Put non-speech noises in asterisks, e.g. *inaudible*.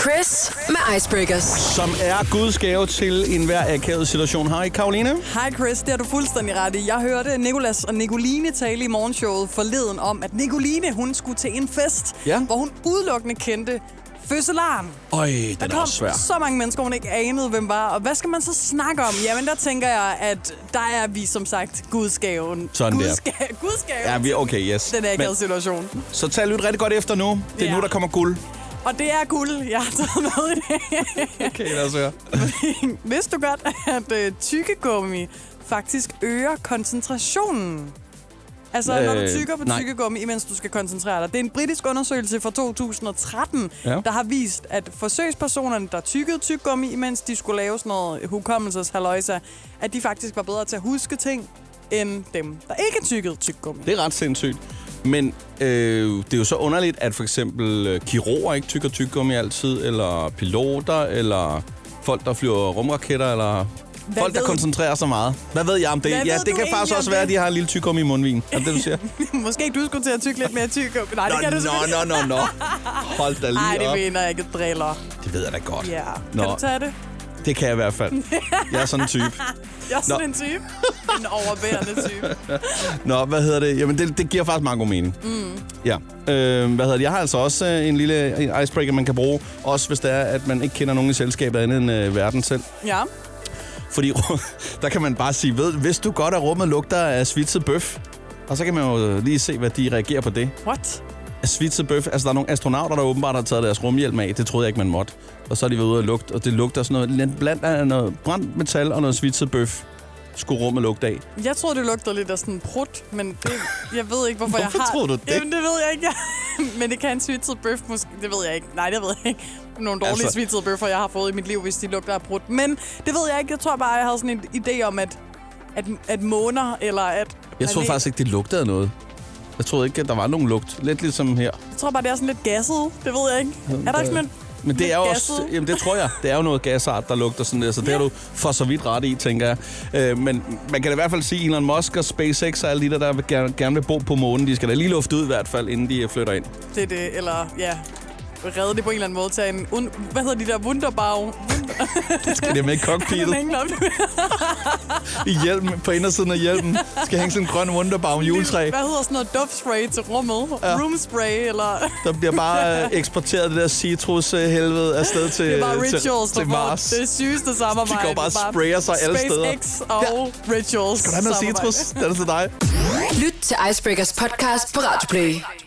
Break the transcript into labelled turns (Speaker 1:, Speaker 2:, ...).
Speaker 1: Chris med Icebreakers.
Speaker 2: Som er Guds gave til enhver akavet situation. Hej, Karoline.
Speaker 3: Hej Chris, det har du fuldstændig ret i. Jeg hørte Nikolas og Nicoline tale i morgenshowet forleden om, at Nicoline hun skulle til en fest,
Speaker 2: Ja.
Speaker 3: hvor hun udelukkende kendte fødselaren.
Speaker 2: Øj, den
Speaker 3: Der
Speaker 2: er
Speaker 3: kom
Speaker 2: også svær.
Speaker 3: så mange mennesker, hun ikke anede, hvem var. Og hvad skal man så snakke om? Jamen, der tænker jeg, at der er vi som sagt gudsgaven.
Speaker 2: Sådan der.
Speaker 3: Gudsga- gudsgaven.
Speaker 2: Ja, vi, okay, yes.
Speaker 3: Den er ikke
Speaker 2: Men,
Speaker 3: Men... situation.
Speaker 2: så tag lyt rigtig godt efter nu. Det er
Speaker 3: Ja.
Speaker 2: nu, der kommer
Speaker 3: *laughs*
Speaker 2: guld.
Speaker 3: Og det er guld, jeg har taget med i dag.
Speaker 2: Okay, lad os høre.
Speaker 3: *laughs* Vidste du godt, at øh, tykkegummi faktisk øger koncentrationen? Altså, øh, når
Speaker 2: Øh,
Speaker 3: du tykker på
Speaker 2: nej.
Speaker 3: tykkegummi, imens du skal koncentrere dig. Det er en britisk undersøgelse fra 2013,
Speaker 2: Ja.
Speaker 3: ja. der har vist, at forsøgspersonerne, der tykkede tykkegummi, imens de skulle lave sådan noget hukommelseshaløjsa, at de faktisk var bedre til at huske ting, end dem, der ikke tykkede tykkegummi.
Speaker 2: Det er ret sindssygt. Men øh, det er jo så underligt, at for eksempel øh, kirurger ikke tykker tyggegummi altid, eller piloter, eller folk, der flyver rumraketter, eller Hvad
Speaker 3: Hvad
Speaker 2: folk, der
Speaker 3: ved-
Speaker 2: koncentrerer sig meget. Hvad ved jeg om det?
Speaker 3: Hvad
Speaker 2: ja,
Speaker 3: ved
Speaker 2: det
Speaker 3: du
Speaker 2: kan faktisk
Speaker 3: egentlig
Speaker 2: også
Speaker 3: om
Speaker 2: være, at
Speaker 3: det?
Speaker 2: de har en lille tyggegummi i mundvinen. Er
Speaker 3: *laughs*
Speaker 2: det det, du siger?
Speaker 3: *laughs* Måske du skulle til at tykke lidt mere tykkegummi. Nej, det kan du selvfølgelig.
Speaker 2: nå, nå, nå, nå. Hold da lige
Speaker 3: Nej,
Speaker 2: op.
Speaker 3: det mener jeg ikke. Driller.
Speaker 2: Det ved jeg da godt.
Speaker 3: Ja.
Speaker 2: Nå,
Speaker 3: Kan du tage det?
Speaker 2: det kan jeg i hvert fald. Jeg er sådan en type.
Speaker 3: Jeg er sådan
Speaker 2: Nå.
Speaker 3: en type. En overbærende type.
Speaker 2: Nå, hvad hedder det? Jamen, det, det giver faktisk meget god mening. Mm. Ja. Øh, hvad hedder det? Jeg har altså også øh, en lille en icebreaker, man kan bruge. Også hvis det er, at man ikke kender nogen i selskabet andet end øh, verden selv.
Speaker 3: Ja.
Speaker 2: Fordi *laughs* der kan man bare sige, ved, hvis du godt, at rummet lugter af svitset bøf, og så kan man jo lige se, hvad de reagerer på det.
Speaker 3: What?
Speaker 2: Af Svitset bøf. Altså, der er nogle astronauter, der åbenbart har taget deres rumhjelm af. Det troede jeg ikke, man måtte. Og så er de været ude og lugte, og det lugter sådan noget. Blandt andet noget brændt metal og noget svitset bøf skulle rummet lugte af.
Speaker 3: Jeg troede, det lugtede lidt af sådan prut, men det, jeg ved ikke, hvorfor, jeg
Speaker 2: Hvorfor
Speaker 3: har...
Speaker 2: troede du det?
Speaker 3: Jamen, det ved jeg ikke. *laughs* men det kan en svitset bøf måske. Det ved jeg ikke. Nej, det ved jeg ikke. Nogle dårlige
Speaker 2: Altså-
Speaker 3: altså... svitsede bøffer, jeg har fået i mit liv, hvis de lugter af prut. Men det ved jeg ikke. Jeg tror bare, jeg havde sådan en idé om, at, at, at måner eller at...
Speaker 2: Jeg
Speaker 3: planet-
Speaker 2: troede faktisk ikke, det lugtede af noget. Jeg troede ikke, at der var nogen lugt. Lidt ligesom her.
Speaker 3: Jeg tror bare, det er sådan lidt gasset. Det ved jeg ikke. Er der ikke sådan lidt...
Speaker 2: Men det er jo
Speaker 3: lidt
Speaker 2: også,
Speaker 3: gasset?
Speaker 2: jamen det tror jeg, det er jo noget gasart, der lugter sådan der, så det har du for så vidt ret i, tænker jeg. Øh, men man kan da i hvert fald sige, Elon Musk og SpaceX og alle de der, der vil gerne, gerne vil bo på månen, de skal da lige lufte ud i hvert fald, inden de øh, flytter
Speaker 3: *laughs*
Speaker 2: ind.
Speaker 3: Det er det, eller ja redde det på en eller anden måde. Tag en, un- hvad hedder de der, wunderbau?
Speaker 2: Skal det med i
Speaker 3: *laughs*
Speaker 2: cockpittet? I hjelmen, på indersiden af hjelmen, skal hænge sådan en grøn wunderbaum juletræ.
Speaker 3: Hvad hedder sådan noget duft spray til rummet? Ja. Room spray, eller...
Speaker 2: Der bliver
Speaker 3: *laughs*
Speaker 2: bare øh, eksporteret det der citrus-helvede afsted til,
Speaker 3: Det er *laughs* bare
Speaker 2: Øh, til,
Speaker 3: rituals,
Speaker 2: til
Speaker 3: der får
Speaker 2: Mars.
Speaker 3: det sygeste samarbejde. er
Speaker 2: De går bare og sprayer sig alle steder.
Speaker 3: SpaceX og ja. rituals
Speaker 2: Kan du have noget citrus? Den er til dig.
Speaker 1: Lyt til Icebreakers podcast på Radioplay.